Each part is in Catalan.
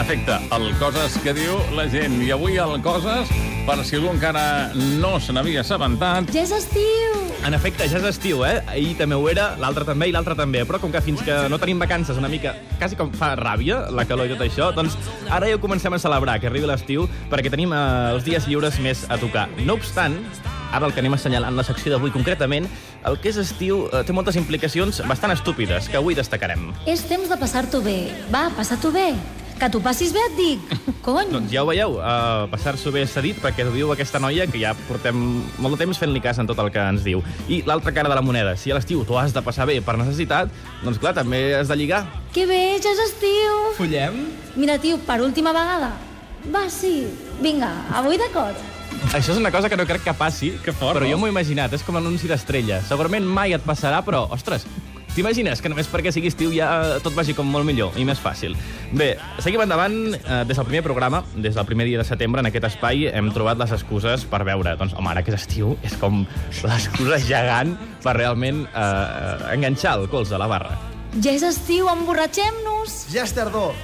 efecte, el Coses que diu la gent. I avui el Coses, per si algú encara no se n'havia assabentat, Ja és estiu! En efecte, ja és estiu, eh? Ahir també ho era, l'altre també i l'altre també. Però com que fins que no tenim vacances una mica, quasi com fa ràbia la calor i tot això, doncs ara ja ho comencem a celebrar, que arribi l'estiu, perquè tenim eh, els dies lliures més a tocar. No obstant, ara el que anem assenyalant en la secció d'avui concretament, el que és estiu eh, té moltes implicacions bastant estúpides, que avui destacarem. És temps de passar-t'ho bé. Va, passa-t'ho bé. Que t'ho passis bé, et dic. Cony! Doncs ja ho veieu, uh, passar-s'ho bé s'ha dit perquè ho diu aquesta noia que ja portem molt de temps fent-li cas en tot el que ens diu. I l'altra cara de la moneda, si a l'estiu t'ho has de passar bé per necessitat, doncs clar, també has de lligar. Que bé, ja és estiu! Follem? Mira, tio, per última vegada. Va, sí. Vinga, avui de cot. Això és una cosa que no crec que passi, Que fort, però no? jo m'ho he imaginat, és com l'anunci d'estrella. Segurament mai et passarà, però, ostres, T'imagines que només perquè sigui estiu ja eh, tot vagi com molt millor i més fàcil? Bé, seguim endavant. Eh, des del primer programa, des del primer dia de setembre, en aquest espai hem trobat les excuses per veure. Doncs, home, ara que és estiu, és com l'excusa gegant per realment eh, enganxar el colze a la barra. Ja és estiu, emborratxem-nos! Ja és tardor,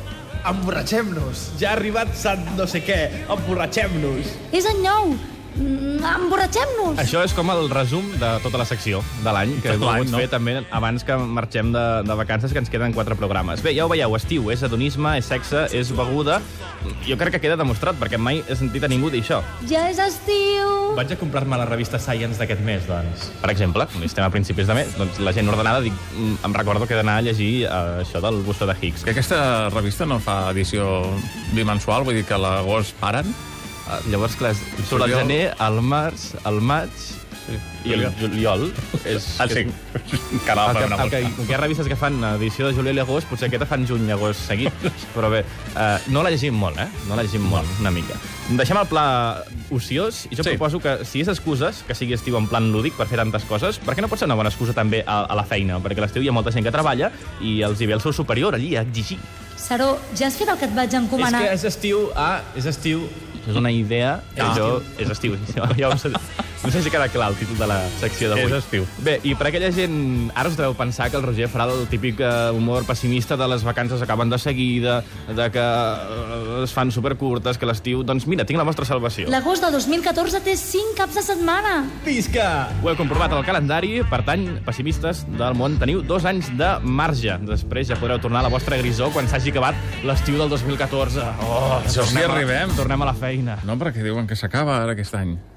emborratxem-nos. Ja ha arribat Sant no sé què, emborratxem-nos. És any nou! Mm, Emborratxem-nos! Això és com el resum de tota la secció de l'any, que Tot he volgut l'any, no? no? fer també abans que marxem de, de vacances, que ens queden quatre programes. Bé, ja ho veieu, estiu, és hedonisme, és sexe, és beguda... Jo crec que queda demostrat, perquè mai he sentit a ningú dir això. Ja és estiu! Vaig a comprar-me la revista Science d'aquest mes, doncs. Per exemple, com estem a principis de mes, doncs la gent ordenada, dic, mm, em recordo que he d'anar a llegir eh, això del bustó de Higgs. que aquesta revista no fa edició bimensual, vull dir que a l'agost paren. Eh, Llavors, clar, surt el Juliol. gener, el març, el maig i el juliol. És, Ah, sí. Carà, per El una que, el que, mostra. com que hi ha revistes que fan edició de juliol i agost, potser aquesta fan juny i agost seguit. Però bé, eh, no la llegim molt, eh? No la llegim molt, una mica. Deixem el pla ociós i jo Sí. sí. proposo que, si és excuses, que sigui estiu en plan lúdic per fer tantes coses, per què no pot ser una bona excusa també a, a la feina? Perquè a l'estiu hi ha molta gent que treballa i els hi ve el seu superior allí a exigir. Saró, ja has fet el que et vaig encomanar. És que és estiu, ah, és estiu. Això és una idea que Ah. jo... És estiu. Jo no, sé, no sé si queda clar el títol de la secció d'avui. És estiu. Bé, i per aquella gent... Ara us deveu pensar que el Roger farà el típic eh, humor pessimista de les vacances acaben de seguida, de que eh, es fan supercurtes, que l'estiu... Doncs mira, tinc la vostra salvació. La... L'agost de 2014 té 5 caps de setmana. Visca! Ho heu comprovat al calendari, per tant, pessimistes del món, teniu dos anys de marge. Després ja podreu tornar a la vostra grisó quan s'hagi acabat l'estiu del 2014. Oh, Això sí, tornem a- arribem. Tornem a la feina. No, perquè diuen que s'acaba ara aquest any.